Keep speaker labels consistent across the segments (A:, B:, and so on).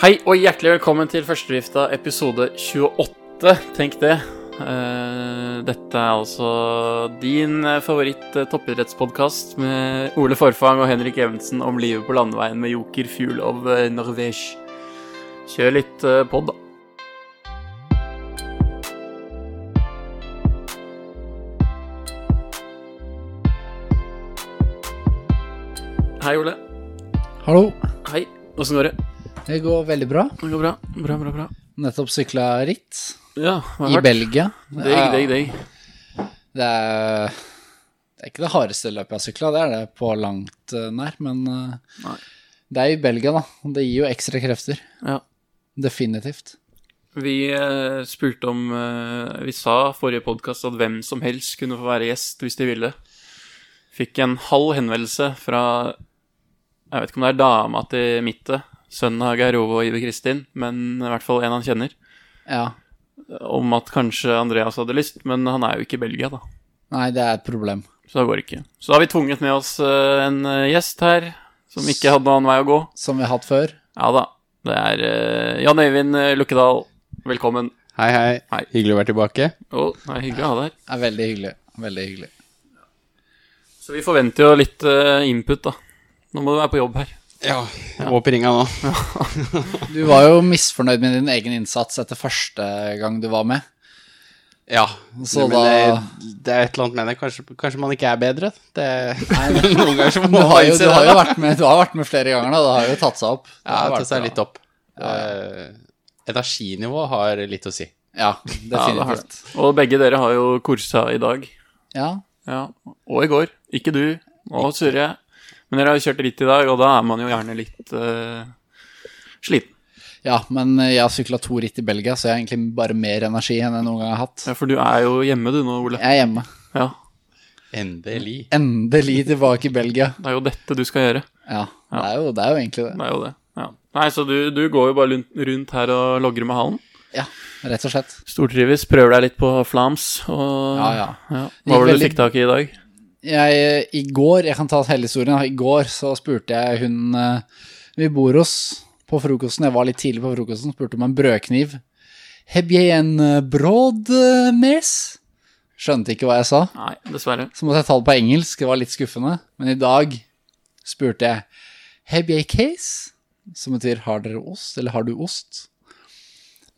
A: Hei og hjertelig velkommen til Førstedrifta episode 28. Tenk det. Eh, Dette er altså din favoritt-toppidrettspodkast med Ole Forfang og Henrik Evensen om livet på landeveien med Joker Fuel of eh, Norvège. Kjør litt eh, pod, da. Hei, Ole.
B: Hallo.
A: Hei. Åssen går det?
B: Det går veldig bra.
A: Det går bra. Bra, bra, bra.
B: Nettopp sykla ritt
A: Ja, det
B: i Belgia.
A: Digg, digg, digg.
B: Det er, det er ikke det hardeste løpet jeg har sykla, det er det på langt eh, nær, men eh,
A: Nei.
B: det er i Belgia, da. og Det gir jo ekstra krefter.
A: Ja.
B: Definitivt.
A: Vi eh, spurte om eh, Vi sa forrige podkast at hvem som helst kunne få være gjest hvis de ville. Fikk en halv henvendelse fra Jeg vet ikke om det er dama til Mitte, sønnen av Geir Ove og Iver Kristin, men i hvert fall en han kjenner,
B: Ja.
A: om at kanskje Andreas hadde lyst, men han er jo ikke i Belgia, da.
B: Nei, det er et problem.
A: Så det går ikke. Så da har vi tvunget med oss eh, en eh, gjest her som ikke hadde noen annen vei å gå.
B: Som vi har hatt før.
A: Ja da. Det er eh, Jan Øyvind eh, Lukkedal. Velkommen.
C: Hei, hei,
A: Hei.
C: Hyggelig å være tilbake.
A: Å, det er hyggelig å ha deg her.
B: Er veldig hyggelig. Veldig hyggelig.
A: Så vi forventer jo litt eh, input, da. Nå må du være på jobb her.
C: Ja, Opp i ringa nå.
B: Du var jo misfornøyd med din egen innsats etter første gang du var med.
C: Ja.
B: Så
C: men
B: da-
C: det, det er et eller annet med det. Kanskje, kanskje man ikke er bedre. Det,
B: Nei,
C: noen ganger så må
B: Du
C: man
B: har jo,
C: innse
B: du har
C: det,
B: jo
C: da.
B: vært, med, du har vært med flere ganger, da. Det har jo tatt seg opp. Det
C: Ja,
B: har
C: ta
B: vært
C: seg
B: bra.
C: litt opp. Eh, Energinivået har litt å si.
B: Ja,
A: Ja, det har
B: definitivt.
A: det. Og begge dere har jo kursa i dag.
B: Ja,
A: Ja. Og i går. Ikke du. Nå surrer jeg. Men dere har jo kjørt ritt i dag, og da er man jo gjerne litt eh, sliten.
B: Ja, men jeg har sykla to ritt i Belgia, så jeg har egentlig bare mer energi enn jeg noen gang har hatt.
A: Ja, for du er jo hjemme du nå, Ole.
B: Jeg er hjemme.
A: Ja.
C: Endelig.
B: Endelig tilbake i Belgia.
A: Det er jo dette du skal gjøre.
B: Ja, det er jo, det er jo egentlig det.
A: Det er jo det. Ja. Nei, så du, du går jo bare lun- rundt her og logrer med halen.
B: Ja, rett og slett.
A: Stortrives. Prøver deg litt på flams og
B: Ja, ja.
A: Hva var det du
B: Veldig-
A: fikk tak i i dag?
B: Jeg, I går, jeg kan ta hele historien, da. i går så spurte jeg hun eh, vi bor hos på frokosten, jeg var litt tidlig på frokosten, spurte om en brødkniv. Heb jeg en eh, brød eh, mes? Skjønte ikke hva jeg sa.
A: Nei, dessverre.
B: Så måtte jeg ta det på engelsk, det var litt skuffende. Men i dag spurte jeg Heb jeg case? Som betyr har dere ost, eller har du ost?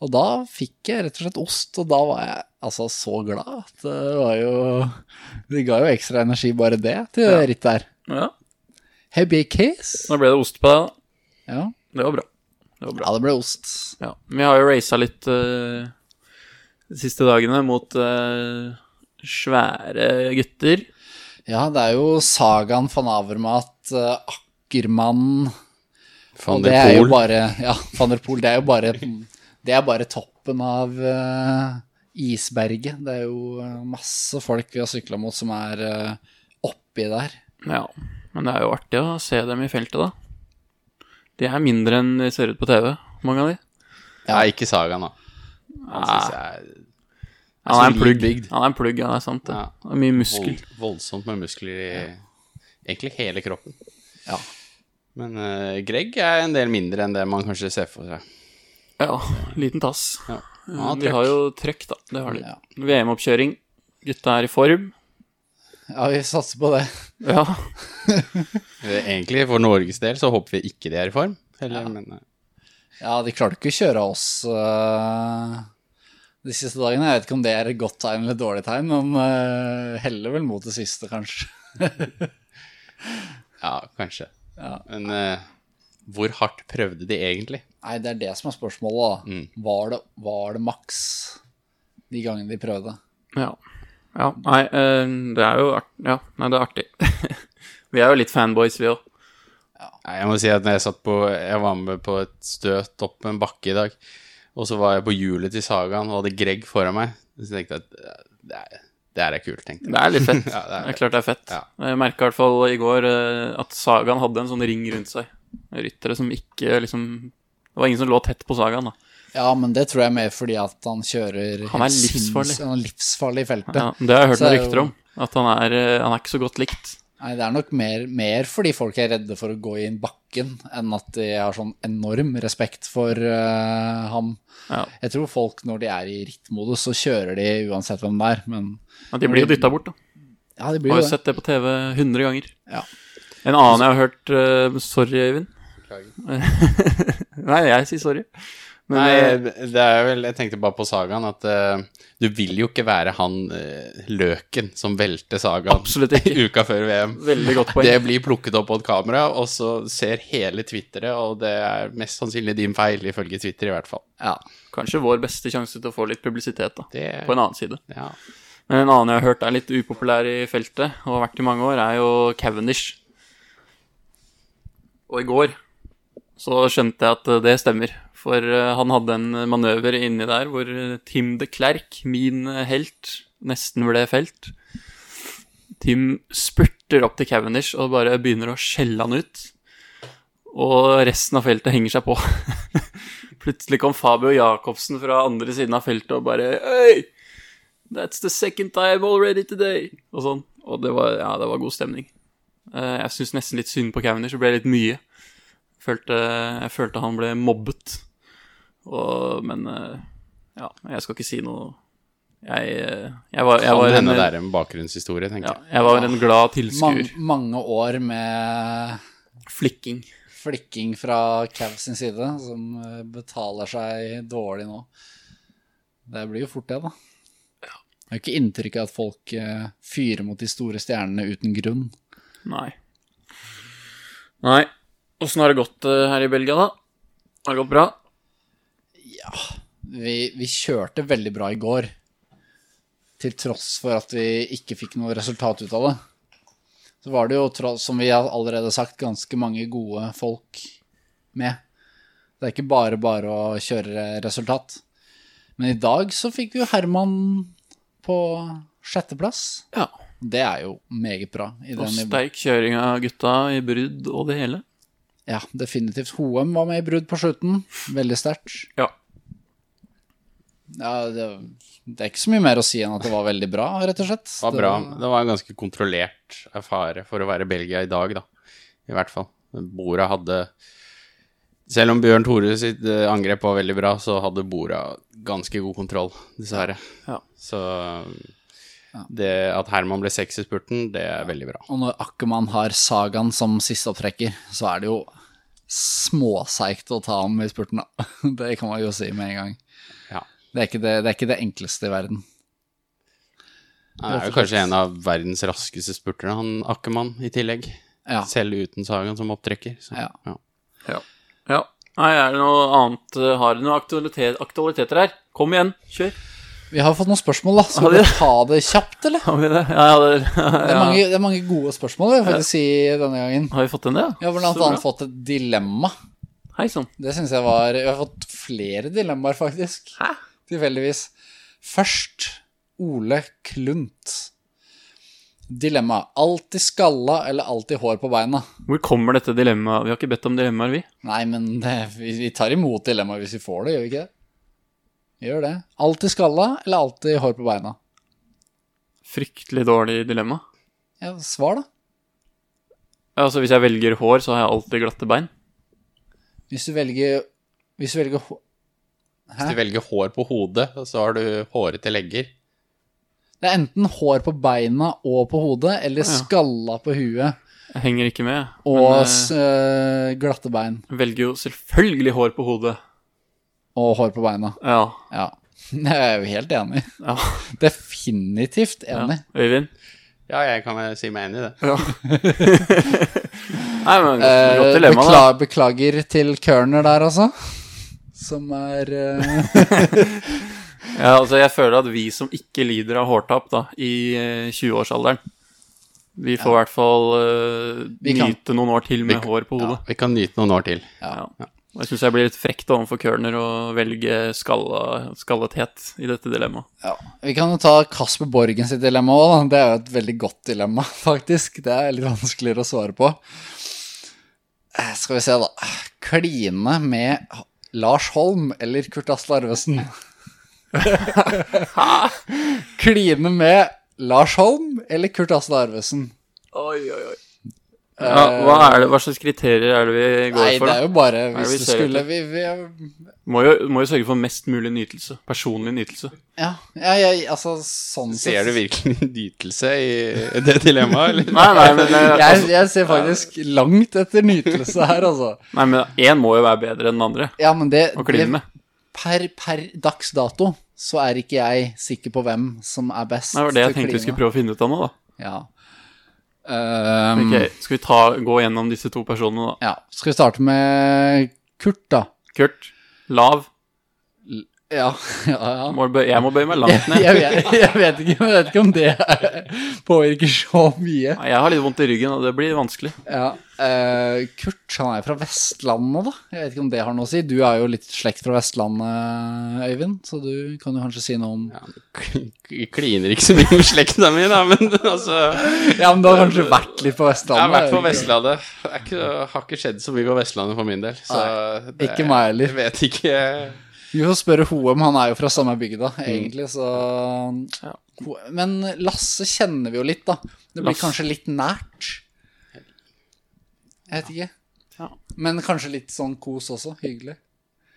B: Og da fikk jeg rett og slett ost, og da var jeg altså så glad at det var jo Det ga jo ekstra energi, bare det, til
A: Ja.
B: det rittet her.
A: Ja,
B: Heb jeg case?
A: Da ble det ost på deg, da.
B: Ja.
A: Det var bra. Det var bra.
B: ja, det ble ost.
A: Ja, vi har jo racet litt eh, de siste dagene mot eh, svære gutter.
B: Ja, det er jo sagaen van Avermat, eh, Akkermann
C: Van
B: Og
C: der
B: det er jo
C: Poel.
B: bare Ja, van der Poel, det er jo bare Det er bare toppen av eh, isberget. Det er jo eh, masse folk vi har sykla mot som er eh, oppi der.
A: Ja, men det er jo artig å se dem i feltet, da. De er mindre enn de ser ut på TV, mange av de.
C: Nei, ikke Sagaen, da. Han
A: Nei.
C: synes jeg er-
A: Han er en
C: solid
A: plugg.
C: Altså, bygd.
A: Han er en plugg, ja, det er sant. Det,
C: Ja.
A: det er mye muskel.
C: vold, voldsomt med muskler i egentlig hele kroppen.
B: Ja.
C: Men eh, Greg er en del mindre enn det man kanskje ser for seg.
A: Ja, liten tass.
C: Ja.
A: Ja,
C: Han
A: de har
C: trøkk.
A: jo trøkk, da. Det har de.
B: Ja.
A: VM-oppkjøring. Gutta er i form.
B: Ja, vi satser på det.
A: Ja.
C: Eh, Egentlig, for Norges del, så håper vi ikke de er i form. Eller, men, eh,
B: Ja, de klarte ikke å kjøre oss eh, de siste dagene. Jeg vet ikke om det er et godt tegn eller et dårlig tegn, men eh, heller vel mot det siste, kanskje.
C: ja, kanskje.
B: Ja.
C: Men eh, hvor hardt prøvde de egentlig?
B: Nei, det er det som er spørsmålet, da. Var, det, var det maks de gangene de prøvde?
A: Ja. ja. Nei, eh, det er jo artig. Ja, nei, det er artig. vi er jo litt fanboys, vi òg.
C: Nei, jeg må si at når jeg satt på Jeg var med på et støt opp en bakke i dag, og så var jeg på hjulet til Sagaen og hadde Greg foran meg. Så tenkte jeg at eh, det er, det her er kult, tenkte jeg.
A: Det er litt fett.
C: Ja, det
A: det,
C: er
A: er klart det er fett.
C: Ja.
A: Jeg merka i hvert fall i går eh, at Sagaen hadde en sånn ring rundt seg. Ryttere som ikke liksom Det var ingen som lå tett på Sagaen, da.
B: Ja, men det tror jeg er mer fordi at han kjører
A: Han er
B: helt
A: livsfarlig.
B: sinns- Han er livsfarlig i feltet.
A: Ja, det har jeg hørt
B: Så
A: noen
B: er jo-
A: rykter om. At han er, eh, han er ikke så godt likt.
B: Nei, det er nok mer, mer fordi folk er redde for å gå inn bakken, enn at de har sånn enorm respekt for eh, ham.
A: Ja.
B: Jeg tror folk, når de er i rittmodus, så kjører de uansett hvem det er, men
A: Men de blir jo dytta bort, da.
B: ja, de
A: Jeg
B: blir
A: har
B: jo
A: jo
B: det.
A: sett det på TV 100 ganger.
B: Ja.
A: En annen jeg har hørt eh, Sorry, Øyvind.
C: Beklager.
A: Nei, jeg sier sorry. Men eh,
C: Nei, det er vel Jeg tenkte bare på sagaen, at eh, du vil jo ikke være han eh, løken som velter sagaen
A: Absolutt ikke.
C: uka før VM.
A: veldig godt poeng.
C: Det blir plukket opp på et kamera, og så ser hele Twitteret, og det er mest sannsynlig din feil, ifølge Twitter i hvert fall.
B: Ja.
A: Kanskje vår beste sjanse til å få litt publisitet, da.
C: Det,
A: På en annen side.
C: ja.
A: Men en annen jeg har hørt er litt upopulær i feltet, og har vært i mange år, er jo Cavendish. Og i går så skjønte jeg at eh, det stemmer. For eh, han hadde en manøver inni der hvor eh, Tim de Klerk, min eh, helt, nesten ble felt. Tim spurter opp til Cavendish og bare begynner å skjelle han ut. Og resten av feltet henger seg på. Plutselig kom Fabio Jacobsen fra andre siden av feltet og bare Øy! That's the second time already today! Og sånn. Og det var, ja, det var god stemning. Eh, Jeg syns nesten litt synd på Cavendish. Det ble litt mye. Følte, jeg følte han ble mobbet. Og, men eh, ja, jeg skal ikke si noe. Jeg, eh, jeg var, jeg
C: Kan
A: var
C: hende
A: en-
C: det er en bakgrunnshistorie, tenker
A: ja,
C: jeg.
A: jeg var en glad tilskuer.
B: Mange, mange år med
A: Flikking.
B: flikking fra Cav sin side, som eh, betaler seg dårlig nå. Det blir jo fort det, da. Jeg har ikke inntrykk av at folk eh, fyrer mot de store stjernene uten grunn.
A: Nei. Nei. Åssen har det gått eh, her i Belgia, da? Har det gått bra?
B: Vi, vi kjørte veldig bra i går, til tross for at vi ikke fikk noe resultat ut av det. Så var det jo, tro- som vi har allerede sagt, ganske mange gode folk med. Det er ikke bare bare å kjøre resultat. Men i dag så fikk vi jo Herman på sjetteplass.
A: Ja.
B: Det er jo meget bra. I
A: Og
B: den nivå-
A: sterk kjøring av gutta i brudd og det hele?
B: ja, definitivt. Hoem var med i brudd på slutten. Veldig sterkt.
A: Ja.
B: Ja, det, det er ikke så mye mer å si enn at det var veldig bra, rett og slett.
C: Det var bra. Det var en ganske kontrollert affære for å være Belgia i dag, da. I hvert fall. Bora hadde Selv om Bjørn Tore sitt eh, angrep var veldig bra, så hadde Bora ganske god kontroll, dessverre.
A: Ja.
C: Så det at Herman ble seks i spurten, det er veldig bra.
B: Og når Akkermann har Sagaen som siste opptrekker, så er det jo småseigt å ta ham i spurten, da. Det kan man jo si med en gang.
C: Ja.
B: Det er ikke det, det, er ikke det enkleste i verden.
C: Han er
B: Rett
C: jo
B: og
C: kanskje
B: slett.
C: en av verdens raskeste spurterne, han Ackermann, i tillegg.
B: Ja.
C: Selv uten Sagan som opptrekker. Så,
B: Ja.
C: ja.
A: ja. Nei, er det noe annet eh, Har det noen aktualitet, aktualiteter her? Kom igjen, kjør.
B: Vi har fått noen spørsmål, da.
A: Har
B: Skal
A: vi
B: vi
A: det?
B: ta det kjapt, eller?
A: Har vi det? Ja, ja, det,
B: Det er,
A: ja.
B: mange, det er mange gode spørsmål, vil jeg faktisk si denne gangen.
A: Har vi fått en, det?
B: Vi har blant annet fått et dilemma.
A: Hei sånn. sann.
B: Det syns jeg var Vi har fått flere dilemmaer, faktisk.
A: Hæ?
B: Tilfeldigvis. Først Ole Klunt. Dilemma. Alltid skalla eller alltid hår på beina?
A: Hvor kommer dette dilemmaet? Vi har ikke bedt om dilemmaer, vi.
B: Nei, men det, vi, vi tar imot dilemmaet hvis vi får det, gjør vi ikke det? Vi gjør det. Alltid skalla eller alltid hår på beina?
A: Fryktelig dårlig dilemma.
B: Ja, svar, da.
A: Altså, hvis jeg velger hår, så har jeg alltid glatte bein.
B: Hvis du velger Hvis du velger hår
C: Hvis du velger hår på hodet, så har du hårete legger.
B: Det er enten hår på beina og på hodet, eller
A: Ja.
B: skalla på huet
A: Jeg henger ikke med.
B: og
A: Men, eh,
B: s- øh, glatte bein
A: Velger jo selvfølgelig hår på hodet.
B: og hår på beina.
A: Ja.
B: Ja. Jeg er jo helt enig.
A: ja.
B: Definitivt
A: ja.
B: enig.
A: Øyvind?
C: Ja, jeg kan vel si meg enig i det.
A: Ja. Nei, men
B: Eh,
A: godt, godt dilemma, da.
B: bekla- beklager til Kerner der, altså. Som er eh,
A: Ja, altså, jeg føler at vi som ikke lider av hårtap da, i eh, 20-årsalderen Vi får i hvert fall eh,
B: Vi kan.
A: nyte noen år til med
C: Vi kan-
A: hår på hodet.
C: Vi kan nyte noen år til.
A: Ja. Og Jeg syns jeg blir litt frekt overfor Kørner å velge skalla, skallethet i dette dilemmaet.
B: ja. Vi kan jo ta Kasper Borgen sitt dilemma òg. Det er jo et veldig godt dilemma, faktisk. Det er litt vanskeligere å svare på. Eh, Skal vi se, da. Kline med Lars Holm eller Kurt Asle Arvesen? Kline med Lars Holm eller Kurt Asle Arvesen?
A: Oi, oi, oi. Ja, hva, er det, hva slags kriterier er det vi går
B: Eh, Nei,
A: for?
B: det
A: da?
B: er jo bare
A: det
B: hvis
A: vi
B: du
A: ser
B: skulle
A: etter?
B: vi, vi,
A: Må, jo, må jo sørge for mest mulig nytelse. Personlig nytelse.
B: Ja, ja jeg, altså sånn sett
C: Ser du virkelig en nytelse i det dilemmaet, eller?
A: Nei, nei, men, eh,
B: jeg,
A: altså,
B: jeg ser faktisk langt etter nytelse her, altså.
A: nei, men én må jo være bedre enn den andre
B: Ja, men det,
A: å
B: det
A: kline med.
B: per, per dags dato så er ikke jeg sikker på hvem som er best.
A: Det var det jeg tenkte vi skulle prøve å finne ut av nå, da.
B: Ja.
C: Mm.
B: Ehm,
A: Ok, skal vi ta, gå gjennom disse to personene, da?
B: ja. Skal vi starte med Kurt, da?
A: Kurt. Lav.
B: Ja, ja, ja.
A: Må bø- Jeg må bøye meg langt ned.
B: Jeg vet, jeg, vet ikke, jeg vet ikke om det er- påvirker så mye.
A: Nei, Jeg har litt vondt i ryggen, og det blir vanskelig.
B: Ja, eh, Kurt han er jo fra Vestlandet, da. Jeg vet ikke om det har noe å si. Du er jo litt slekt fra Vestlandet, Øyvind, så du kan jo kanskje si noe om
C: Jeg kliner ikke så mye med slekta mi, da, men altså
B: Ja, men du har kanskje vært litt på
C: Jeg har
B: Vestlandet?
C: vært på
B: ikke?
C: Vestlandet. Det er ikke, har ikke skjedd så mye på Vestlandet for min del. Så det,
B: ikke meg heller.
C: Jeg vet ikke
B: Vi får spørre Hoem, han er jo fra samme bygda, egentlig, så Ho- Men Lasse kjenner vi jo litt, da. Det blir
A: Lasse.
B: kanskje litt nært. Jeg vet ikke.
A: Ja.
B: Men kanskje litt sånn kos også. Hyggelig.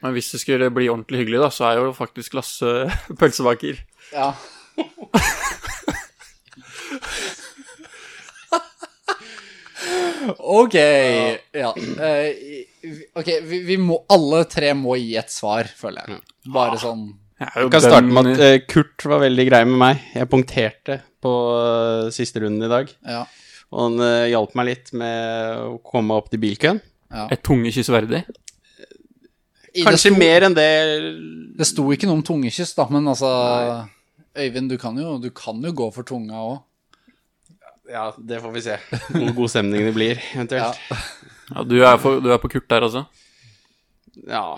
A: Men hvis det skulle bli ordentlig hyggelig, da, så er jo faktisk Lasse pølsebaker.
B: Ja. ok. Ja. eh, i- ok, vi, vi må Alle tre må gi et svar, føler jeg. Bare sånn
A: Jeg er jo
C: Jeg kan starte med
A: bønder.
C: at eh, Kurt var veldig grei med meg. Jeg punkterte på eh, siste runden i dag.
B: Ja.
C: Og han eh, hjalp meg litt med å komme meg opp til bilkøen.
A: eh, Et tungekyss verdig.
B: I det
C: Kanskje
B: sto-
C: mer enn det
B: Det sto ikke noe om tungekyss, da, men altså Øyvind, du kan, jo, du kan jo gå for tunga òg.
C: Ja, det får vi se. Hvor god stemning det blir, eventuelt.
A: Ja, du, er for, du er på Kurt der, altså.
C: Ja,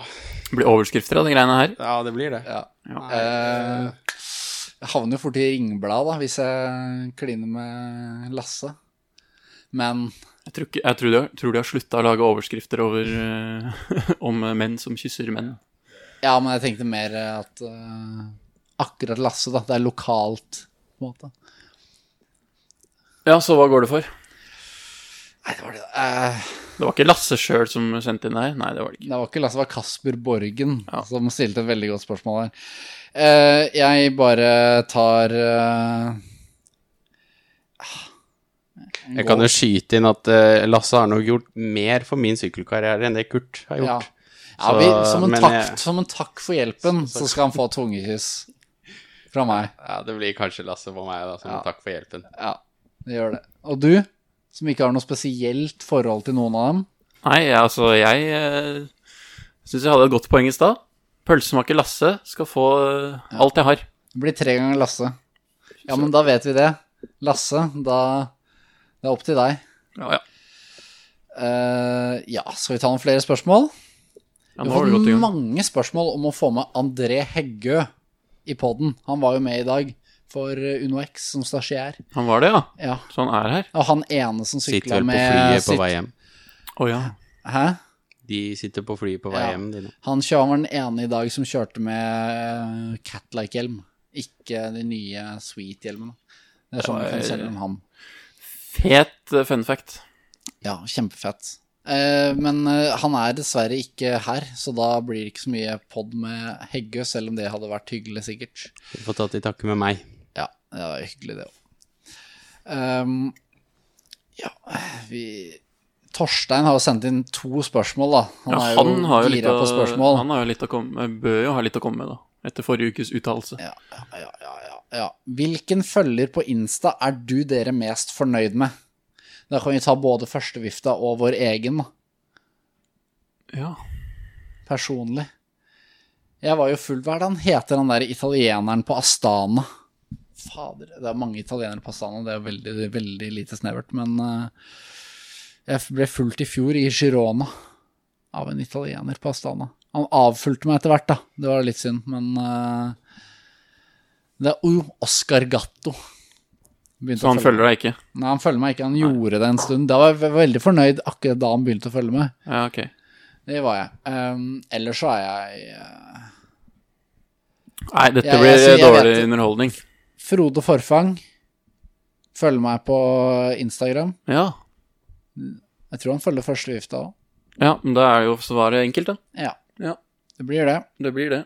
A: Det blir overskrifter av de greiene her.
C: ja det blir det.
B: Ja. Eh, jeg havner jo fort i ringblad da, hvis jeg kliner med Lasse. Men
A: Jeg tror, ikke, jeg tror, de, har- tror de har slutta å lage overskrifter over, eh, om eh, menn som kysser menn.
B: ja, men jeg tenkte mer at eh, akkurat Lasse, da. Det er lokalt, på en måte.
A: Ja, så hva går det for?
B: Nei, det var det eh,
A: Det var ikke Lasse sjøl som sendte inn det her. Nei, det var det ikke.
B: Det var ikke Lasse, det var Kasper Borgen
A: Ja.
B: som stilte et veldig godt spørsmål her. Eh, jeg bare tar eh,
C: Jeg kan jo skyte inn at eh, Lasse har nok gjort mer for min sykkelkarriere enn det Kurt har
B: Ja.
C: gjort.
B: ja
C: Så-
B: vi, som, en
C: men
B: takk,
C: jeg-
B: som en takk for hjelpen, så skal han få et tungekyss fra meg.
C: Ja, det blir kanskje Lasse på meg, da, som
B: Ja.
C: takk for hjelpen.
B: Ja, det gjør det. Og du, som ikke har noe spesielt forhold til noen av dem.
A: Nei, jeg- altså, jeg eh, syns jeg hadde et godt poeng i stad. Pølsemaker Lasse skal få eh, alt jeg har.
B: Det blir tre ganger Lasse. Ja, men da vet vi det. Lasse, da Det er opp til deg.
A: Ja, ja.
B: Eh, ja, skal vi ta noen flere spørsmål?
A: ja
B: Vi
A: nå
B: har
A: har du
B: fått
A: gått i gang.
B: mange spørsmål om å få med André Heggø i poden. Han var jo med i dag for eh, UnoX som stasjær.
A: Han var det, ja.
B: Ja.
A: Så han er her.
B: Og han ene som
C: Sitter
B: sykla
C: vel på
B: med
C: flyet på vei hjem.
A: Å ja.
B: Hæ?
C: De sitter på flyet på vei
B: Ja.
C: hjem, de nå.
B: Han kjø- han var den ene i dag som kjørte med eh, Cat-like-hjelm. Ikke de nye Sweet-hjelmene. Det er sånn vi kan selge om ham.
A: Fet eh, fun fact.
B: Ja, kjempefett. Eh, Men eh, han er dessverre ikke her, så da blir det ikke så mye pod med Heggø, selv om det hadde vært hyggelig, sikkert.
C: De får ta til takke med meg.
B: Ja, det var hyggelig, det òg. Ehm, ja, vi Torstein har jo sendt inn to spørsmål, da. Han
A: Ja,
B: er jo,
A: han har jo litt
B: gira
A: å,
B: på spørsmål.
A: han har jo litt å komme med. Bør jo ha litt å komme med, da. Etter forrige ukes uttalelse.
B: Ja, ja, ja, ja, ja, ja. Hvilken følger på Insta er du dere mest fornøyd med? Da kan vi ta både førstevifta og vår egen, da.
A: Ja.
B: Personlig. Jeg var jo full Hva er det han heter, han der italieneren på Astana? Fader, det er mange italienere på Astana, det er veldig, veldig lite snevert, men eh, Jeg ble fulgt i fjor i Girona av en italiener på Astana. Han avfulgte meg etter hvert, da. Det var litt synd, men eh, Det er jo Oscar Gatto. Begynte
A: Så
B: å
A: han
B: følge
A: følger deg ikke?
B: Nei, han følger meg ikke. Han gjorde det en stund. Da var jeg ve- veldig fornøyd akkurat da han begynte å følge meg.
A: Ja, ok.
B: Det var jeg. Um, ellers så er jeg eh,
A: Nei, dette
B: Jeg- jeg
A: blir
B: sier- jeg
A: dårlig
B: vet det.
A: underholdning.
B: Frode Forfang. Følger meg på Instagram.
A: Ja.
B: Jeg tror han følger første vifta òg.
A: Ja, men da er jo svaret enkelt, da.
B: Ja,
A: Ja,
B: det blir det.
A: det blir det.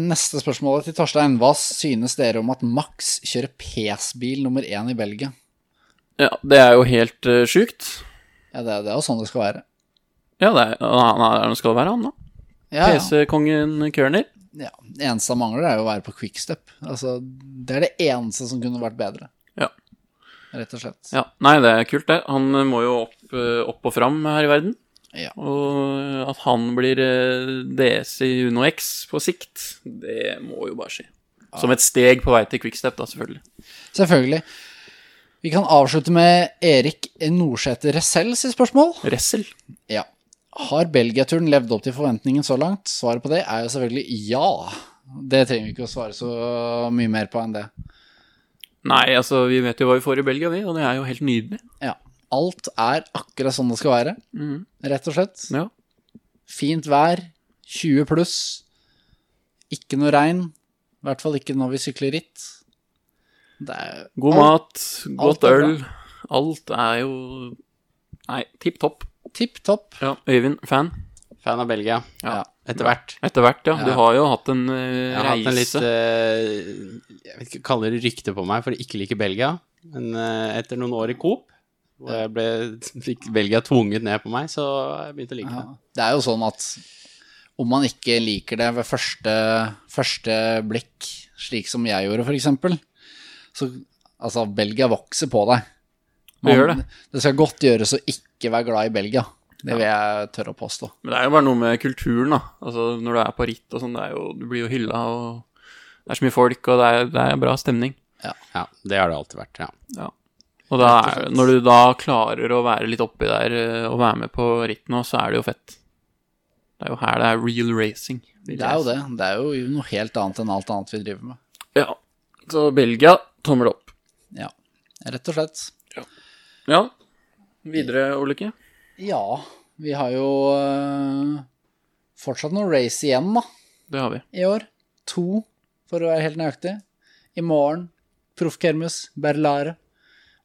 B: Neste spørsmålet til Torstein. Hva synes dere om at Max kjører PS-bil nummer én i Belgia?
A: Ja, det er jo helt uh, sjukt.
B: Ja, det, det er jo sånn det skal være.
A: Ja, det er, han er- han skal være han, da.
B: Ja, ja.
A: PC-kongen Kørner.
B: ja. Det eneste han mangler, er jo å være på quickstep. Altså, det er det eneste som kunne vært bedre.
A: Ja.
B: Rett og slett.
A: Ja, nei, det er kult, det. Han eh, må jo opp, eh, opp og fram her i verden.
B: Ja.
A: Og at han blir eh, DS i Uno X på sikt, det må jo bare skje. Som et steg på vei til Quickstep, da, selvfølgelig.
B: Selvfølgelig. Vi kan avslutte med Erik Nordsæter Resell sitt spørsmål.
A: Ressel.
B: Ja. Har Belgia-turen levd opp til forventningen så langt? Svaret på det er jo selvfølgelig ja. Det trenger vi ikke å svare så mye mer på enn det.
A: Nei, altså, vi vet jo hva vi får i Belgia, vi, og det er jo helt nydelig.
B: Ja. Alt er akkurat sånn det skal være,
A: Mhm.
B: rett og slett.
A: Ja.
B: Fint vær, 20 pluss. Ikke noe regn. I hvert fall ikke når vi sykler ritt. Det er
A: God
B: alt
A: mat, godt
B: alt er
A: øl. Alt er jo Nei, tipp topp.
B: tipp topp.
A: Ja, Øyvind, fan.
C: Fan av Belgia.
A: Ja.
C: Etter hvert.
A: Etter hvert, ja. Du
C: Ja.
A: har jo hatt en eh,
C: Jeg har hatt
A: reise.
C: en litt eh, Jeg vet ikke, kaller det rykte på meg for å ikke like Belgia. Men eh, etter noen år i Coop, hvor jeg ble, fikk Belgia tvunget ned på meg, så har jeg begynt å like
B: Ja.
C: det.
B: Det er jo sånn at om man ikke liker det ved første, første blikk, slik som jeg gjorde, f.eks., så altså, Belgia vokser på deg.
A: Det gjør det.
B: det skal godt gjøres å ikke være glad i Belgia. Det vil jeg tørre å påstå.
A: Men det er jo bare noe med kulturen, da. Altså, når du er på ritt og sånn, det er jo, du blir jo hylla, og det er så mye folk, og det er, det er bra stemning.
C: Ja, det har det alltid vært. Ja.
A: Og da er, når du da klarer å være litt oppi der eh, og være med på ritt nå, så er det jo fett. Det er jo her det er real racing. vil
B: Det er jo
A: jeg
B: det. Det er jo noe helt annet enn alt annet vi driver med.
A: si. Ja. Så Belgia, tommel opp.
B: Ja, rett og slett.
A: Ja. Videre, Olykke.
B: Ja, vi har jo øh, fortsatt noen race igjen, da,
A: Det har vi.
B: i år. To, for å være helt nøyaktig. I morgen, Proff Kermus, Berlare.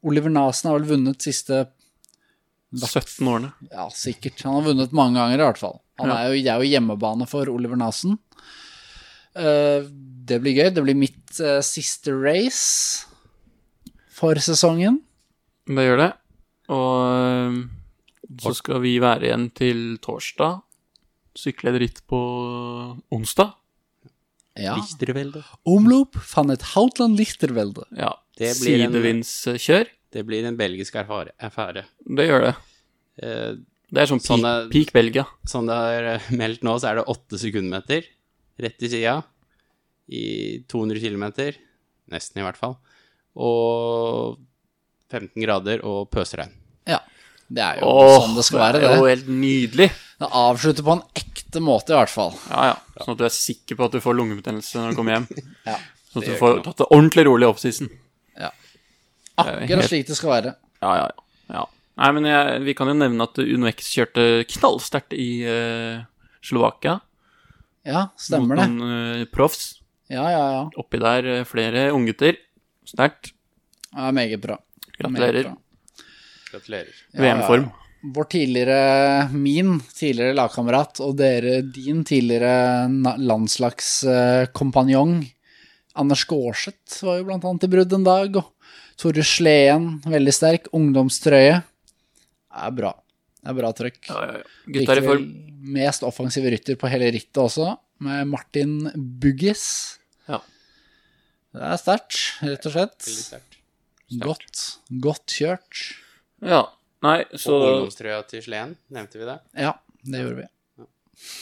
B: Oliver Nasen har vel vunnet siste
A: 17 årene.
B: Ja, sikkert. Han har vunnet mange ganger, i hvert fall. Han
A: Ja.
B: er jo, det er jo hjemmebane for Oliver Nasen. Eh, det blir gøy. Det blir mitt eh, siste race for sesongen.
A: Det gjør det. Og øhm, så skal vi være igjen til torsdag. Sykle et ritt på onsdag.
B: Ja.
C: Lichtervelde.
B: Omloop van het Houtland Lichtervelde.
A: Ja.
C: Det blir en-
A: Sidevindskjør.
C: Det blir en belgisk erfare- affære.
A: Det gjør det.
C: Eh,
A: Det er sånn peak,
C: Sånne-
A: peak Belgia.
C: Sånn det er eh, meldt nå, så er det åtte sekundmeter rett i sida i 200 km. Nesten, i hvert fall. Og 15 grader og pøsregn.
B: Ja. Det er jo
A: Åh,
B: sånn det skal være,
A: er jo
B: det.
A: helt nydelig.
B: Det avslutter på en ekte måte, i hvert fall.
A: Ja, ja. Sånn at du er sikker på at du får lungebetennelse når du kommer hjem.
B: Ja.
A: Sånn at
C: Det
A: du
C: gjør
A: får
C: ikke noe.
A: tatt det ordentlig rolig i oppsisen. er jo
B: Akkurat
A: helt-
B: slik det skal være.
A: Ja, ja, ja. ja. Nei, men jeg, vi kan jo nevne at UnoX kjørte knallsterkt i eh, Slovakia.
B: Ja, stemmer det.
A: mot noen eh, proffs.
B: Ja, ja, ja.
A: Oppi der eh, flere unggutter. Sterkt.
B: ja meget bra. Meget
A: Gratulerer.
B: bra.
C: Gratulerer.
B: Ja,
A: VM-form.
B: ja, ja. Vår tidligere, min tidligere lagkamerat og dere, din tidligere na- landslagskompanjong, Anders Gårdseth var jo blant annet i brudd en dag, og Tore Sleen, veldig sterk, ungdomstrøye. Det er bra. Det er bra trøkk.
A: Ja, ja, ja. Gutta er i form.
B: Likevel Mest offensive rytter på hele rittet også, med Martin Buggis.
A: Ja.
B: Det er sterkt, rett og
C: Veldig
B: slett.
C: sterkt.
B: Godt, godt kjørt.
A: Ja. Nei,
C: Og
A: så
C: ungdomstrøya til Sleen, nevnte vi det?
B: Ja, det gjorde vi.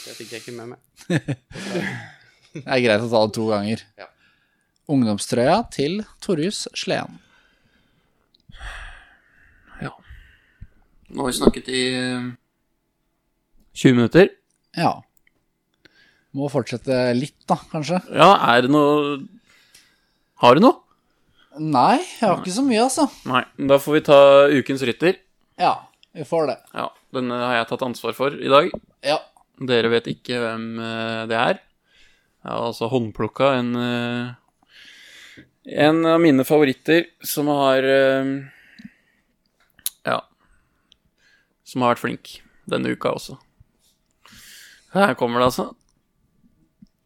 C: Det fikk jeg ikke med meg.
B: Det er greit å ta det to ganger.
C: Ja.
B: Ungdomstrøya til Torjus Sleen.
A: Nå har vi snakket i eh, 20 minutter.
B: Ja. Må fortsette litt, da, kanskje.
A: Ja, er det noe Har du noe?
B: Nei, jeg har ikke så mye, altså.
A: Nei. Da får vi ta ukens rytter.
B: Ja, vi får det.
A: Ja, denne har jeg tatt ansvar for i dag.
B: Ja.
A: Dere vet ikke hvem eh, det er. Jeg har altså håndplukka en eh, En av mine favoritter som har eh, Ja. som har vært flink denne uka også. Her kommer det, altså.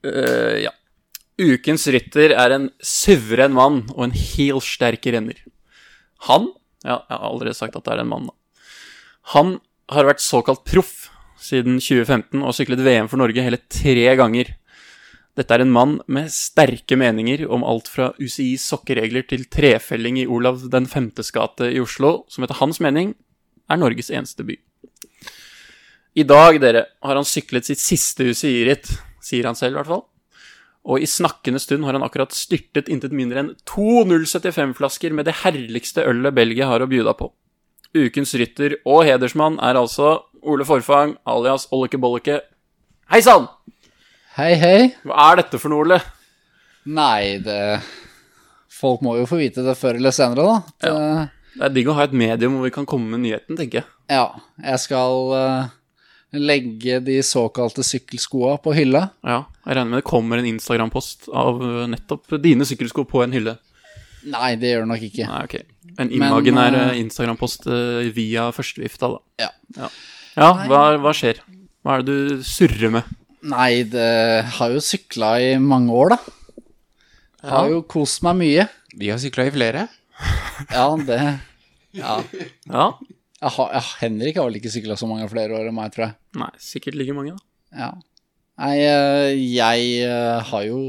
A: Eh, ja. Ukens rytter er en suveren mann og en helsterk renner. Han Ja, jeg har allerede sagt at det er en mann, da. Han har vært såkalt proff siden 2015 og syklet VM for Norge hele tre ganger. Dette er en mann med sterke meninger om alt fra UCIs sokkeregler til trefelling i Olav den femtes gate i Oslo, som etter hans mening er Norges eneste by. I dag, dere, har han syklet sitt siste UCI-ritt, sier han selv i hvert fall. Og i snakkende stund har han akkurat styrtet intet mindre enn to 075-flasker med det herligste ølet Belgia har å bjuda på. Ukens rytter og hedersmann er altså Ole Forfang alias Olleke Bolleke. Hei sann!
B: Hei, hei.
A: Hva er dette for noe, Ole?
B: Nei, det Folk må jo få vite det før eller senere, da. At, eh,
A: Det er digg å ha et medium hvor vi kan komme med nyheten, tenker jeg.
B: Ja, jeg skal eh, legge de såkalte sykkelskoa på hylla.
A: Ja, Jeg regner med det kommer en Instagram-post av eh, nettopp dine sykkelsko på en hylle.
B: Nei, det gjør det nok ikke.
A: Nei, ok. En imaginær
B: eh,
A: eh, Instagram-post eh, via førstevifta, da.
B: Ja.
A: Ja, hva, hva skjer? Hva er det du surrer med?
B: Nei, det har jo sykla i mange år, da. Har jo kost meg mye.
C: Vi har sykla i flere.
B: Ja, det
A: Ja.
B: jeg har, ja, Henrik har vel ikke sykla så mange flere år enn meg, tror jeg.
A: Nei, sikkert like mange, da.
B: Ja. Nei, eh, jeg eh, har jo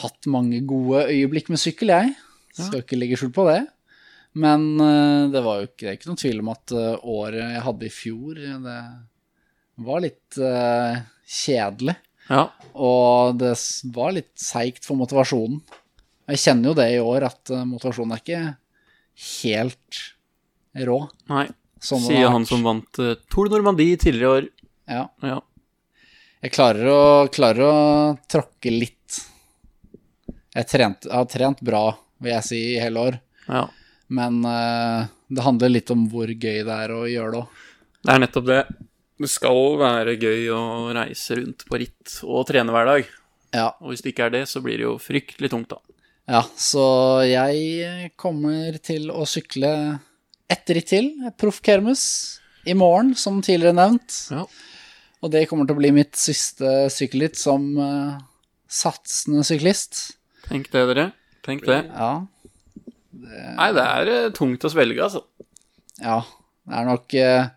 B: hatt mange gode øyeblikk med sykkel, jeg. Skal ikke legge skjul på det. Men eh, det var jo ikke, det er ikke noen tvil om at eh, året jeg hadde i fjor, eh, det var litt eh, kjedelig.
A: Ja.
B: Og det s- var litt seigt for motivasjonen. Jeg kjenner jo det i år, at eh, motivasjonen er ikke helt rå.
A: Nei,
B: som den har
A: sier
B: vært.
A: han som vant uh, Tour de Normandie tidligere i år.
B: Ja.
A: Ja.
B: Jeg klarer å, klarer å tråkke litt. Jeg, trent, jeg har trent bra, vil jeg si, i hele år.
A: ja.
B: Men eh, det handler litt om hvor gøy det er å gjøre det òg.
A: Det er nettopp det. Det skal være gøy å reise rundt på ritt og trene hver dag.
B: Ja,
A: Og hvis det ikke er det, så blir det jo fryktelig tungt, da.
B: ja, så jeg kommer til å sykle ett ritt til, proffkermus, i morgen, som tidligere nevnt.
A: Ja.
B: Og det kommer til å bli mitt siste sykkelritt som eh, satsende syklist.
A: Tenk det, dere. Tenk det.
B: Ja,
A: Nei, det er eh, tungt å svelge, altså.
B: Ja, det er nok eh,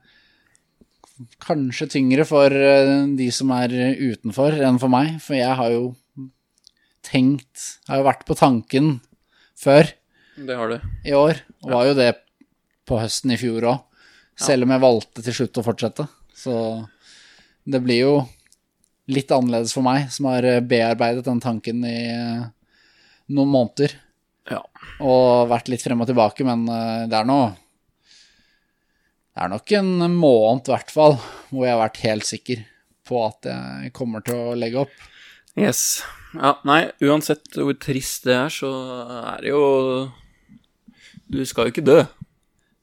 B: kanskje tyngre for eh, de som er utenfor enn for meg, for jeg har jo tenkt, jeg har jo vært på tanken før
A: Det har du.
B: i år, og var jo det på høsten i fjor òg, selv om jeg valgte til slutt å fortsette. Så det blir jo litt annerledes for meg, som har eh, bearbeidet den tanken i eh, noen måneder
A: Ja.
B: og vært litt frem og tilbake, men eh, det er nå Det er nok en måned, i hvert fall, hvor jeg har vært helt sikker på at jeg kommer til å legge opp.
A: Yes. Ja, nei, uansett hvor trist det er, så er det jo Du skal jo ikke dø.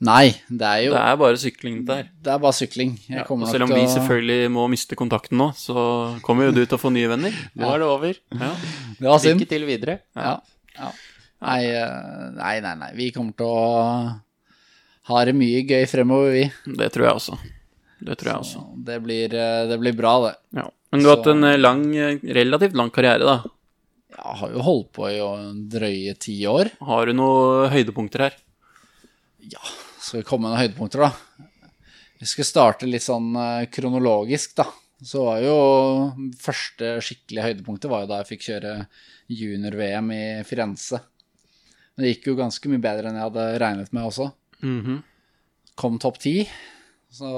B: Nei, det er jo
A: Det er bare sykling der.
B: Det er bare sykling. Jeg
A: Ja, og
B: kommer
A: selv om
B: nok
A: vi
B: til å
A: selvfølgelig må miste kontakten nå, så kommer jo du til å få nye venner.
C: Nå er det over.
A: Ja.
B: Det var synd.
C: Lykke til videre.
B: Ja. ja. Nei, eh, nei, nei, nei. Vi kommer til å ha det mye gøy fremover, vi.
A: Det tror jeg også. Det tror jeg også.
B: Det blir, eh, det blir bra, det.
A: Ja. Men du har hatt en eh, lang, eh, relativt lang karriere, da.
B: Jeg har jo holdt på i eh, drøye ti år.
A: Har du noen høydepunkter her?
B: Skal vi komme med noen høydepunkter, da? Vi skal starte litt sånn eh, kronologisk, da. Så var jo første skikkelige høydepunktet var jo da jeg fikk kjøre junior-VM i Firenze. Men det gikk jo ganske mye bedre enn jeg hadde regnet med også.
A: Mhm.
B: Kom topp ti. Så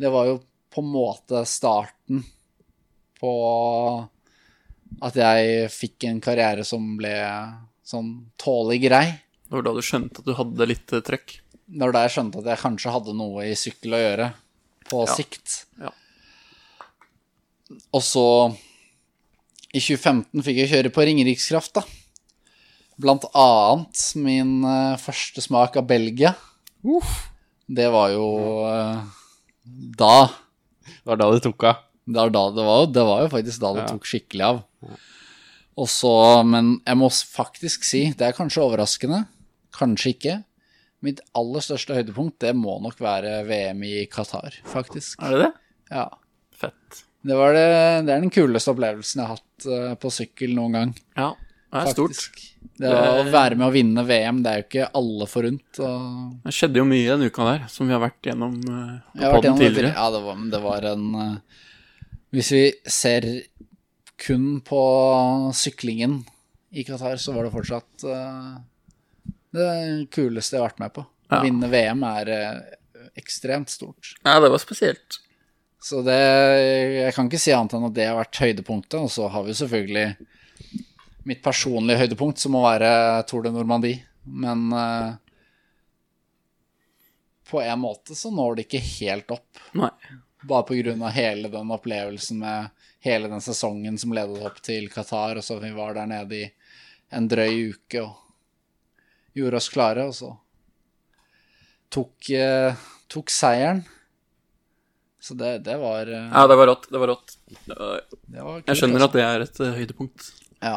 B: det var jo på en måte starten på at jeg fikk en karriere som ble sånn tålelig grei.
A: Det var da du skjønte at du hadde litt eh, trøkk?
B: Det var da jeg skjønte at jeg kanskje hadde noe i sykkel å gjøre, på
A: Ja.
B: sikt.
A: Ja.
B: Og så, i 2015 fikk jeg kjøre på Ringerikskraft, da. Blant annet min eh, første smak av Belgia. Det var jo eh, da.
C: Det var da det tok av.
B: Det var, da det, var, det var jo faktisk da det
C: Ja.
B: tok skikkelig av. Og så, men jeg må s- faktisk si, det er kanskje overraskende, kanskje ikke, Mitt aller største høydepunkt, det må nok være VM i Qatar, faktisk.
A: Er det det?
B: Ja.
A: Fett.
B: Det, var det, det er den kuleste opplevelsen jeg har hatt eh, på sykkel noen gang.
A: Ja, det er stort.
B: faktisk. Det å være med å vinne VM, det er jo ikke alle forunt. Og
A: Det skjedde jo mye den uka der, som vi har vært gjennom eh,
B: Jeg
A: på podden
B: har vært gjennom det tidligere.
A: tidligere.
B: Ja, det var, men det var en eh, Hvis vi ser kun på syklingen i Qatar, så var det fortsatt eh, det kuleste jeg har vært med på. Å
A: Ja.
B: vinne VM er eh, ekstremt stort.
A: Ja, det var spesielt.
B: Så det Jeg kan ikke si annet enn at det har vært høydepunktet. Og så har vi selvfølgelig mitt personlige høydepunkt, som må være Tour de Normandie. Men eh, på en måte så når det ikke helt opp.
A: Nei.
B: Bare på grunn av hele den opplevelsen med hele den sesongen som ledet opp til Qatar, og så vi var der nede i en drøy uke og gjorde oss klare, og så tok, eh, tok seieren. Så det, det var eh,
A: Ja, det var rått. Det var rått. Eh,
B: det var altså.
A: Jeg skjønner at det er et eh, høydepunkt.
B: Ja.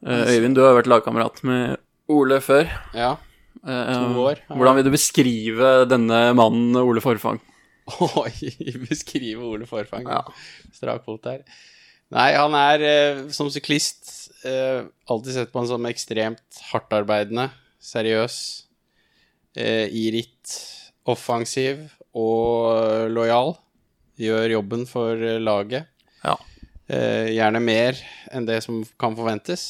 A: Eh, Øyvind, du har vært lagkamerat med Ole før.
C: Ja.
A: Eh,
C: To år.
A: Hvordan vil du beskrive denne mannen, Ole Forfang?
C: Oi, beskrive Ole Forfang.
A: Ja.
C: Strakfot der. Nei, han er eh, som syklist eh, alltid sett på han som ekstremt hardtarbeidende, seriøs, eh, i ritt, offensiv og lojal. Gjør jobben for eh, laget.
A: Ja.
C: Eh, gjerne mer enn det som kan forventes.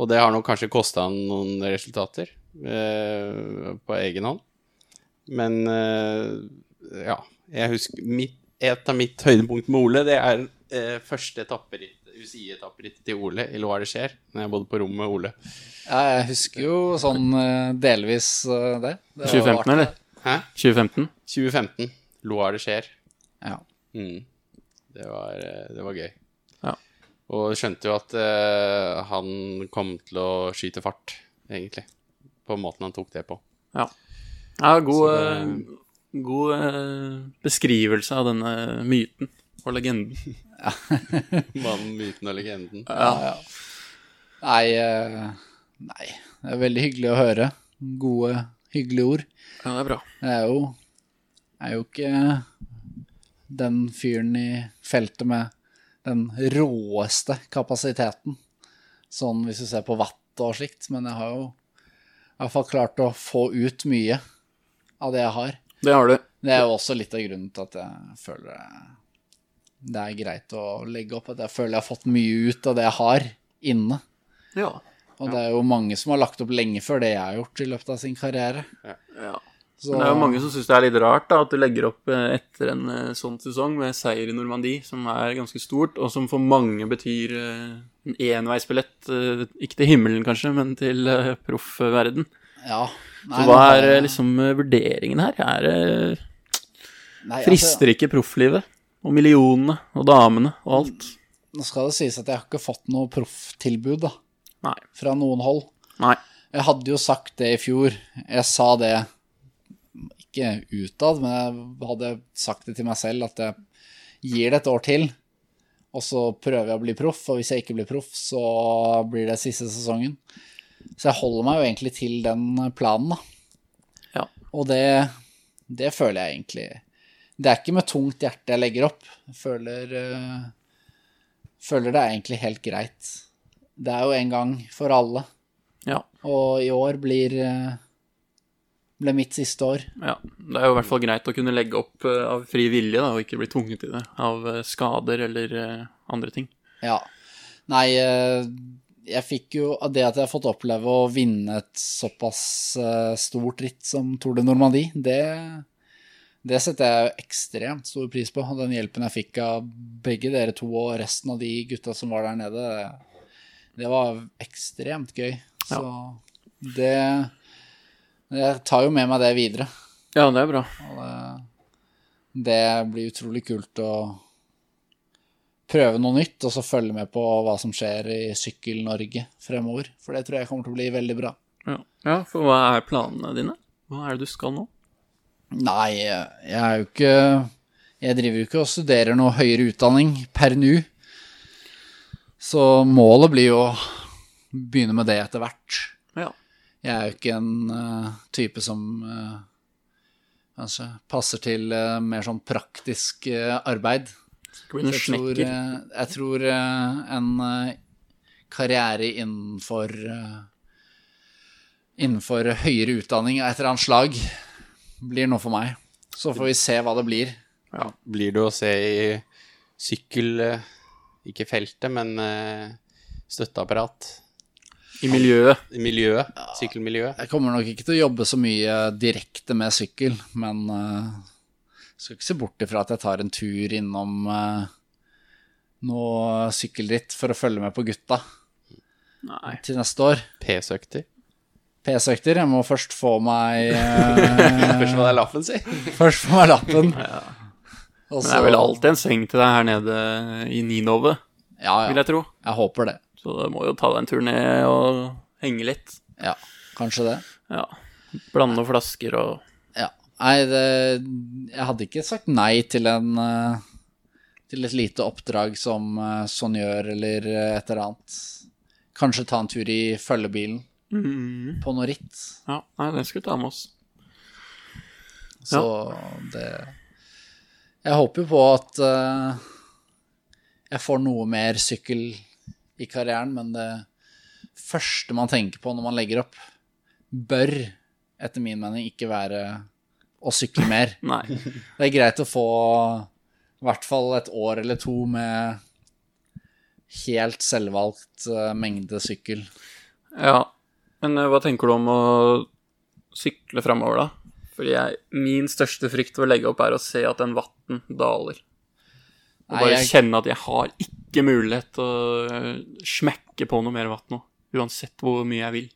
C: Og det har nok kanskje kosta han noen resultater eh, på egen hånd. Men eh, ja Jeg husker mitt, Et av mitt høydepunkt med Ole, det er eh, første etapperitt, UCI-etapperitt til Ole i Loire det skjer, når jeg bodde på rom med Ole.
B: ja, jeg husker jo sånn eh, delvis eh, det. det var
A: 2015,
B: artig.
A: eller?
C: Hæ?
A: 2015?
C: 2015. Loire det skjer.
B: Ja.
C: Mm. Det, var, eh, det var gøy.
A: Ja.
C: Og skjønte jo at eh, han kom til å skyte fart, egentlig. På måten han tok det på.
A: Ja, god,
C: Så det-
A: eh, god eh, beskrivelse av denne myten og legenden.
C: Mannen, myten og legenden.
B: Ja, ja. Nei, eh, nei, det er veldig hyggelig å høre. Gode, hyggelige ord.
A: Ja, det er bra.
B: Det er jo, er jo ikke den fyren i feltet med den råeste kapasiteten. Sånn hvis du ser på vatt og slikt, men jeg har jo i hvert fall klart å få ut mye av det jeg har.
A: Det har du.
B: Det er jo også litt av grunnen til at jeg føler det- det er greit å legge opp, at jeg føler jeg har fått mye ut av det jeg har inne.
A: Ja.
B: Og det er jo mange som har lagt opp lenge før det jeg har gjort i løpet av sin karriere.
A: ja.
B: Så,
A: Men det er jo mange som syns det er litt rart da, at du legger opp eh, etter en eh, sånn sesong med seier i Normandie, som er ganske stort, og som for mange betyr eh, en enveisbillett, eh, ikke til himmelen kanskje, men til eh, proffverden.
B: ja. Nei,
A: Så hva
B: nå har
A: er eh,
B: jeg-
A: liksom eh, vurderingen her? Er det
B: Nei, altså,
A: Frister ikke profflivet? Og millionene og damene og alt?
B: altså, nå skal det sies at jeg har ikke fått noe profftilbud da,
A: Nei.
B: fra noen hold.
A: Nei.
B: Jeg hadde jo sagt det i fjor. Jeg sa det ikke utad, men jeg hadde sagt det til meg selv at jeg gir det et år til, og så prøver jeg å bli proff, og hvis jeg ikke blir proff, så blir det siste sesongen. Så jeg holder meg jo egentlig til den planen, da.
A: Ja.
B: Og det, det føler jeg egentlig Det er ikke med tungt hjerte jeg legger opp. Jeg føler, eh, føler det er egentlig helt greit. Det er jo en gang for alle.
A: Ja.
B: Og i år blir, eh, ble mitt siste år.
A: ja. Det er jo i hvert fall greit å kunne legge opp eh, av fri vilje, da, og ikke bli tvunget til det av eh, skader eller eh, andre ting.
B: Ja. Nei, eh, jeg fikk jo av det at jeg har fått oppleve å vinne et såpass eh, stort ritt som Tour de Normandie, det, det setter jeg jo ekstremt stor pris på. Og den hjelpen jeg fikk av begge dere to og resten av de gutta som var der nede, det var ekstremt gøy. Så det Jeg tar jo med meg det videre.
A: Ja, det er bra.
B: Og det, det blir utrolig kult å prøve noe nytt, og så følge med på hva som skjer i Sykkel-Norge fremover. For det tror jeg kommer til å bli veldig bra.
A: Ja. ja, for hva er planene dine? Hva er det du skal nå?
B: Nei, jeg er jo ikke Jeg driver jo ikke og studerer noe høyere utdanning per nå. Så målet blir jo å begynne med det etter hvert.
A: Ja.
B: Jeg er jo ikke en eh, type som eh, kanskje passer til eh, mer sånn praktisk eh, arbeid.
A: Skal bli
B: Så
A: en
B: jeg tror,
A: snekker.
B: eh, jeg tror eh, en eh, karriere innenfor eh, Innenfor høyere utdanning av et eller annet slag blir noe for meg. Så får vi se hva det blir.
C: Blir det å se i sykkel eh, Ikke feltet, men eh, støtteapparat.
A: I miljøet.
C: I Miljøet. Sykkelmiljøet.
B: Jeg kommer nok ikke til å jobbe så mye direkte med sykkel, men eh, skal ikke se bort ifra at jeg tar en tur innom eh, noe sykkelritt for å følge med på gutta
A: Nei.
B: til neste år.
C: P-søkter.
B: PS-økter. Jeg må først få meg eh,
C: Spørs hva det er laffen sier.
B: Først få meg lappen. Og
A: Men det er vel alltid en sving til deg her nede eh, i Ninove,
B: Ja,
A: vil
B: ja.
A: jeg tro.
B: Jeg håper det.
A: Så du må jo ta deg en tur ned og henge litt.
B: Ja, kanskje det.
A: Ja. Blande noen flasker og
B: Ja. Nei, det, jeg hadde ikke sagt nei til en eh, Til et lite oppdrag som eh, sonjør eller eh, et eller annet. Kanskje ta en tur i følgebilen
A: Mm.
B: på noe ritt.
A: Ja, nei, det skal vi ta med oss.
B: Så det Jeg håper jo på at eh, jeg får noe mer sykkel i karrieren, men det første man tenker på når man legger opp, bør etter min mening ikke være å sykle mer.
A: Nei.
B: Det er greit å få i hvert fall et år eller to med helt selvvalgt eh, mengde sykkel.
A: Ja. Men eh, hva tenker du om å sykle framover, da? Fordi jeg, min største frykt ved å legge opp er å se at den vatten daler. Og
B: Nei,
A: bare
B: jeg-
A: kjenne at jeg har ikke mulighet til å eh, smekke på noe mer vatten nå. Uansett hvor mye jeg vil.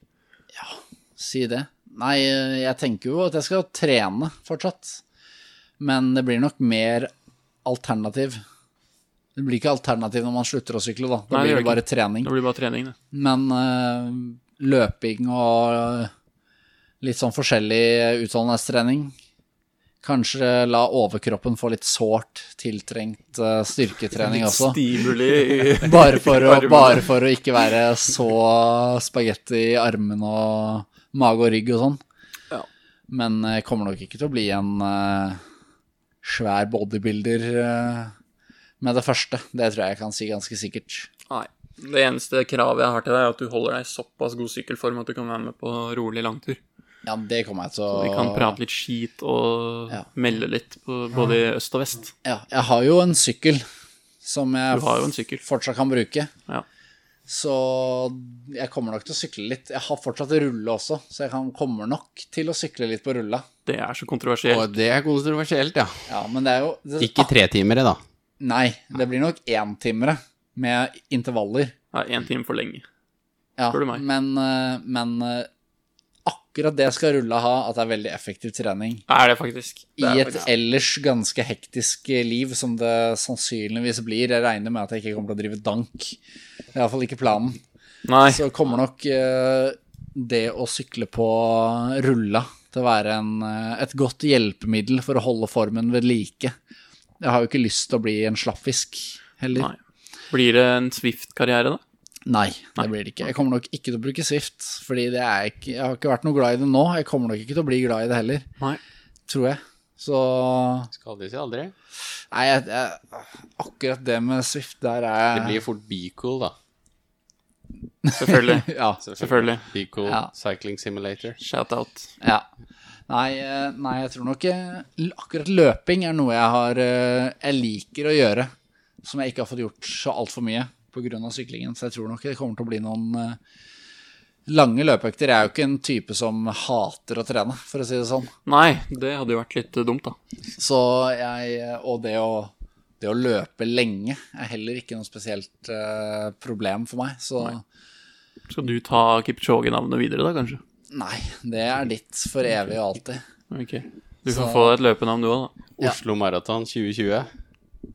B: Si det. Nei, jeg tenker jo at jeg skal trene fortsatt. Men det blir nok mer alternativ. Det blir ikke alternativ når man slutter å sykle, da. Da
A: Nei, det
B: blir
A: gjør
B: det bare
A: det
B: trening.
A: Det blir bare trening, det.
B: Men eh, løping og eh, litt sånn forskjellig utholdenhetstrening Kanskje la overkroppen få litt sårt tiltrengt eh, styrketrening også.
A: Stimuli i-
B: Bare for, å,
A: Armen.
B: bare for å ikke være så spagetti i armen og mage og rygg og sånn.
A: Ja.
B: Men eh, kommer nok ikke til å bli en eh, svær bodybuilder eh, med det første. Det tror jeg jeg kan si ganske sikkert.
A: Nei. Det eneste kravet jeg har til deg, er at du holder deg i såpass god sykkelform at du kan være med på rolig langtur.
B: Ja, det kommer jeg til å
A: Vi kan prate litt skit og
B: Ja.
A: melde litt på både i øst og vest.
B: Ja, jeg har jo en sykkel som jeg
A: Du har jo en sykkel.
B: fortsatt kan bruke.
A: Ja.
B: Så jeg kommer nok til å sykle litt. Jeg har fortsatt rulle også, så jeg kan, kommer nok til å sykle litt på rulla.
A: Det er så kontroversielt.
C: Og det er kontroversielt, ja.
B: Ja, men det er jo det,
C: Ikke tretimere, da.
B: Nei, det blir nok éntimere med intervaller.
A: Det er én time for lenge.
B: Ja,
A: Spør du meg.
B: Men, eh, men eh, akkurat det skal rulla ha, at det er veldig effektiv trening.
A: Er det faktisk. Det
B: I
A: er
B: et
A: faktisk.
B: ellers ganske hektisk eh, liv, som det sannsynligvis blir. Jeg regner med at jeg ikke kommer til å drive dank. Det er iallfall ikke planen.
A: Nei.
B: Så kommer nok eh, det å sykle på rulla til å være en, eh, et godt hjelpemiddel for å holde formen ved like. Jeg har jo ikke lyst til å bli en slappfisk heller.
A: Nei. Blir det en Swift-karriere, da?
B: Nei, det blir det ikke. Jeg kommer nok ikke til å bruke Swift, fordi det er ikke, jeg har ikke vært noe glad i det nå. Jeg kommer nok ikke til å bli glad i det heller,
A: Nei.
B: tror jeg. Så
C: Skal aldri si aldri.
B: Nei, jeg, jeg, akkurat det med Swift der er
C: Det blir fort Beacool, da.
A: Selvfølgelig.
B: ja,
A: Selvfølgelig.
C: Beacool
B: Ja.
C: Cycling Simulator.
A: Shout-out.
B: ja. Nei, eh, nei, jeg tror nok eh, l- akkurat løping er noe jeg har eh, Jeg liker å gjøre, som jeg ikke har fått gjort så altfor mye pga. syklingen. Så jeg tror nok det kommer til å bli noen eh, lange løpeøkter. Jeg er jo ikke en type som hater å trene, for å si det sånn.
A: Nei, det hadde jo vært litt eh, dumt, da.
B: Så jeg eh, Og det å, det å løpe lenge er heller ikke noe spesielt eh, problem for meg. Så nei.
A: Skal du ta Kipchoge-navnet videre, da, kanskje?
B: det er ditt for evig og alltid.
A: Ok. Du
B: Så-
A: får få deg et løpenavn, du òg, da.
B: Ja.
C: Oslo Maraton 2020.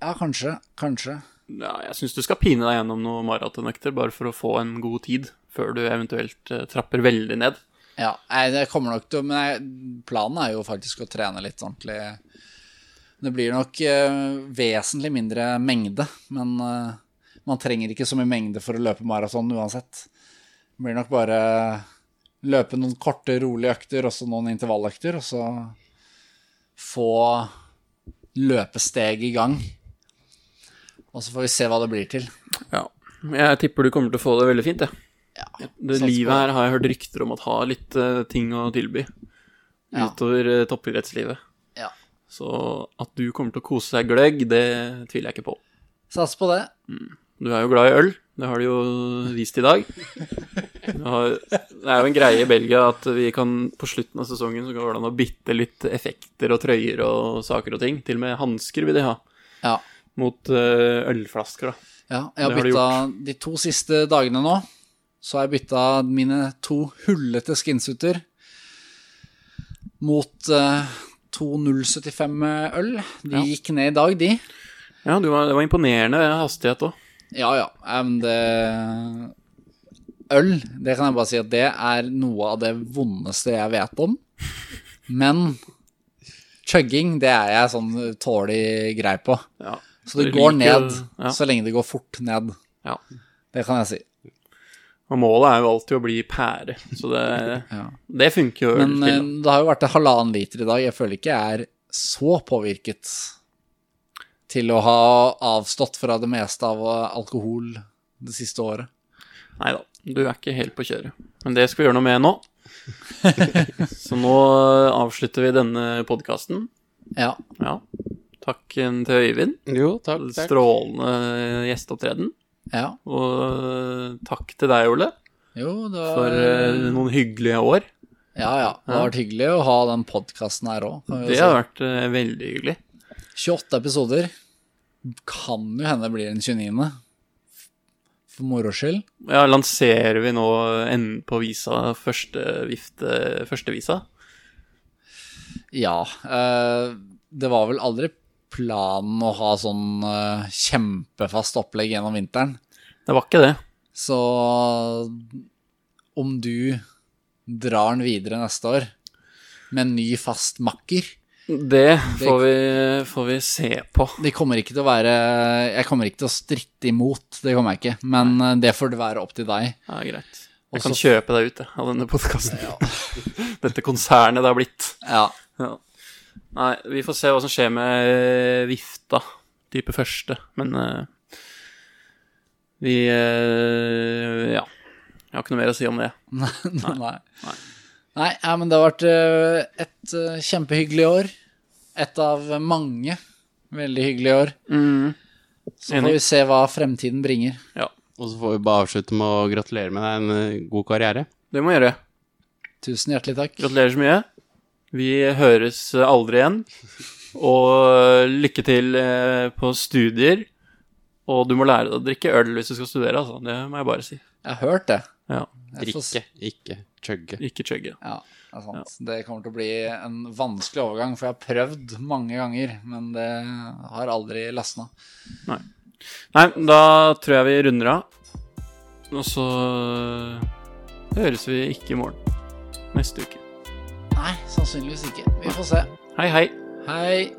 B: Ja, kanskje. Kanskje.
A: Ja, jeg syns du skal pine deg gjennom noen maratonøkter bare for å få en god tid, før du eventuelt eh, trapper veldig ned.
B: Ja, nei, det kommer nok til å- Men jeg, planen er jo faktisk å trene litt ordentlig. Det blir nok eh, vesentlig mindre mengde, men eh, man trenger ikke så mye mengde for å løpe maraton uansett. Det blir nok bare løpe noen korte, rolige økter, og så noen intervalløkter, og så få løpesteg i gang. Og så får vi se hva det blir til.
A: Ja. Jeg tipper du kommer til å få det veldig fint, jeg.
B: Ja,
A: Det
B: sats på
A: livet her har jeg hørt rykter om at har litt eh, ting å tilby
B: Ja.
A: utover eh, toppidrettslivet.
B: Ja.
A: Så at du kommer til å kose deg gløgg, det tviler jeg ikke på.
B: Sats på det.
A: Du er jo glad i øl, det har du jo vist i dag. Du har, det er jo en greie i Belgia at vi kan på slutten av sesongen så går det an å bytte litt effekter og trøyer og saker og ting. Til og med hansker vil de ha
B: Ja.
A: mot eh, ølflasker, da.
B: ja jeg har
A: Det har du
B: bytta de to siste dagene nå. Så har jeg bytta mine to hullete skinsuter mot eh, to 0,75-øl. De
A: Ja.
B: gikk ned i dag, de.
A: Ja, du var, det var imponerende hastighet òg.
B: Ja, ja. eh, Men det Øl, det kan jeg bare si at det er noe av det vondeste jeg vet om. Men chugging, det er jeg sånn tålig grei på.
A: Ja.
B: Så det
A: Jeg
B: går
A: liker-
B: ned
A: ja.
B: så lenge det går fort ned.
A: Ja.
B: Det kan jeg si.
A: Og målet er jo alltid å bli pære, så det,
B: Ja.
A: det funker jo øl
B: Men eh,
A: til. da.
B: det har jo vært en halvannen liter i dag. Jeg føler ikke jeg er så påvirket til å ha avstått fra det meste av eh, alkohol det siste året.
A: Nei da, du er ikke helt på kjøret. Men det skal vi gjøre noe med nå. så nå eh, avslutter vi denne podkasten.
B: Ja.
A: Ja. Takken til Øyvind.
C: Jo, takk. takk.
A: Strålende eh, gjesteopptreden.
B: ja.
A: Og eh, takk til deg, Ole,
B: Jo, det var
A: for eh, noen hyggelige år.
B: Ja, ja. Det har vært hyggelig å ha den podkasten her òg.
A: Det har vært eh, veldig hyggelig.
B: 28 episoder. Kan jo hende det blir en 29. For moro skyld.
A: Ja, lanserer vi nå eh, enden på visa, første, vifte, første visa?
B: Ja. eh, det var vel aldri planen å ha sånn eh, kjempefast opplegg gjennom vinteren.
A: Det var ikke det.
B: Så om du drar den videre neste år med en ny fast makker
A: Det får vi, får vi se på.
B: Det kommer ikke til å være Jeg kommer ikke til å stritte imot, det kommer jeg ikke. Men eh, det får det være opp til deg.
A: Ja, greit. Jeg
B: Og
A: kan
B: så-
A: kjøpe deg ut jeg, av denne podkasten. Dette konsernet det har blitt.
B: Ja.
A: Ja. Nei, vi får se hva som skjer med eh, vifta, type første, men eh, Vi eh, Ja. Jeg har ikke noe mer å si om det.
B: Nei. Nei. Nei, ja, men det har vært eh, et eh, kjempehyggelig år. Et av mange veldig hyggelige år.
A: Mm.
B: Så
A: Enig.
B: får vi se hva fremtiden bringer.
A: Ja,
C: Og så får vi bare avslutte med å gratulere med deg en eh, god karriere.
A: det må jeg gjøre.
B: Tusen hjertelig takk.
A: Gratulerer så mye. Vi høres eh, aldri igjen. Og eh, lykke til eh, på studier. Og du må lære deg å drikke øl hvis du skal studere, altså. Det må jeg bare si.
B: Jeg har hørt det.
A: Ja,
B: Jeg får s-
C: Drikke, ikke chugge.
A: ikke chugge.
B: Ja, det er sant. Det kommer til å bli en vanskelig overgang, for jeg har prøvd mange ganger, men det har aldri lasna.
A: Nei, da tror jeg vi runder av. Og så høres vi ikke i morgen. Neste uke.
B: Nei, sannsynligvis ikke. Vi får se.
A: Hei, hei.
B: Hei.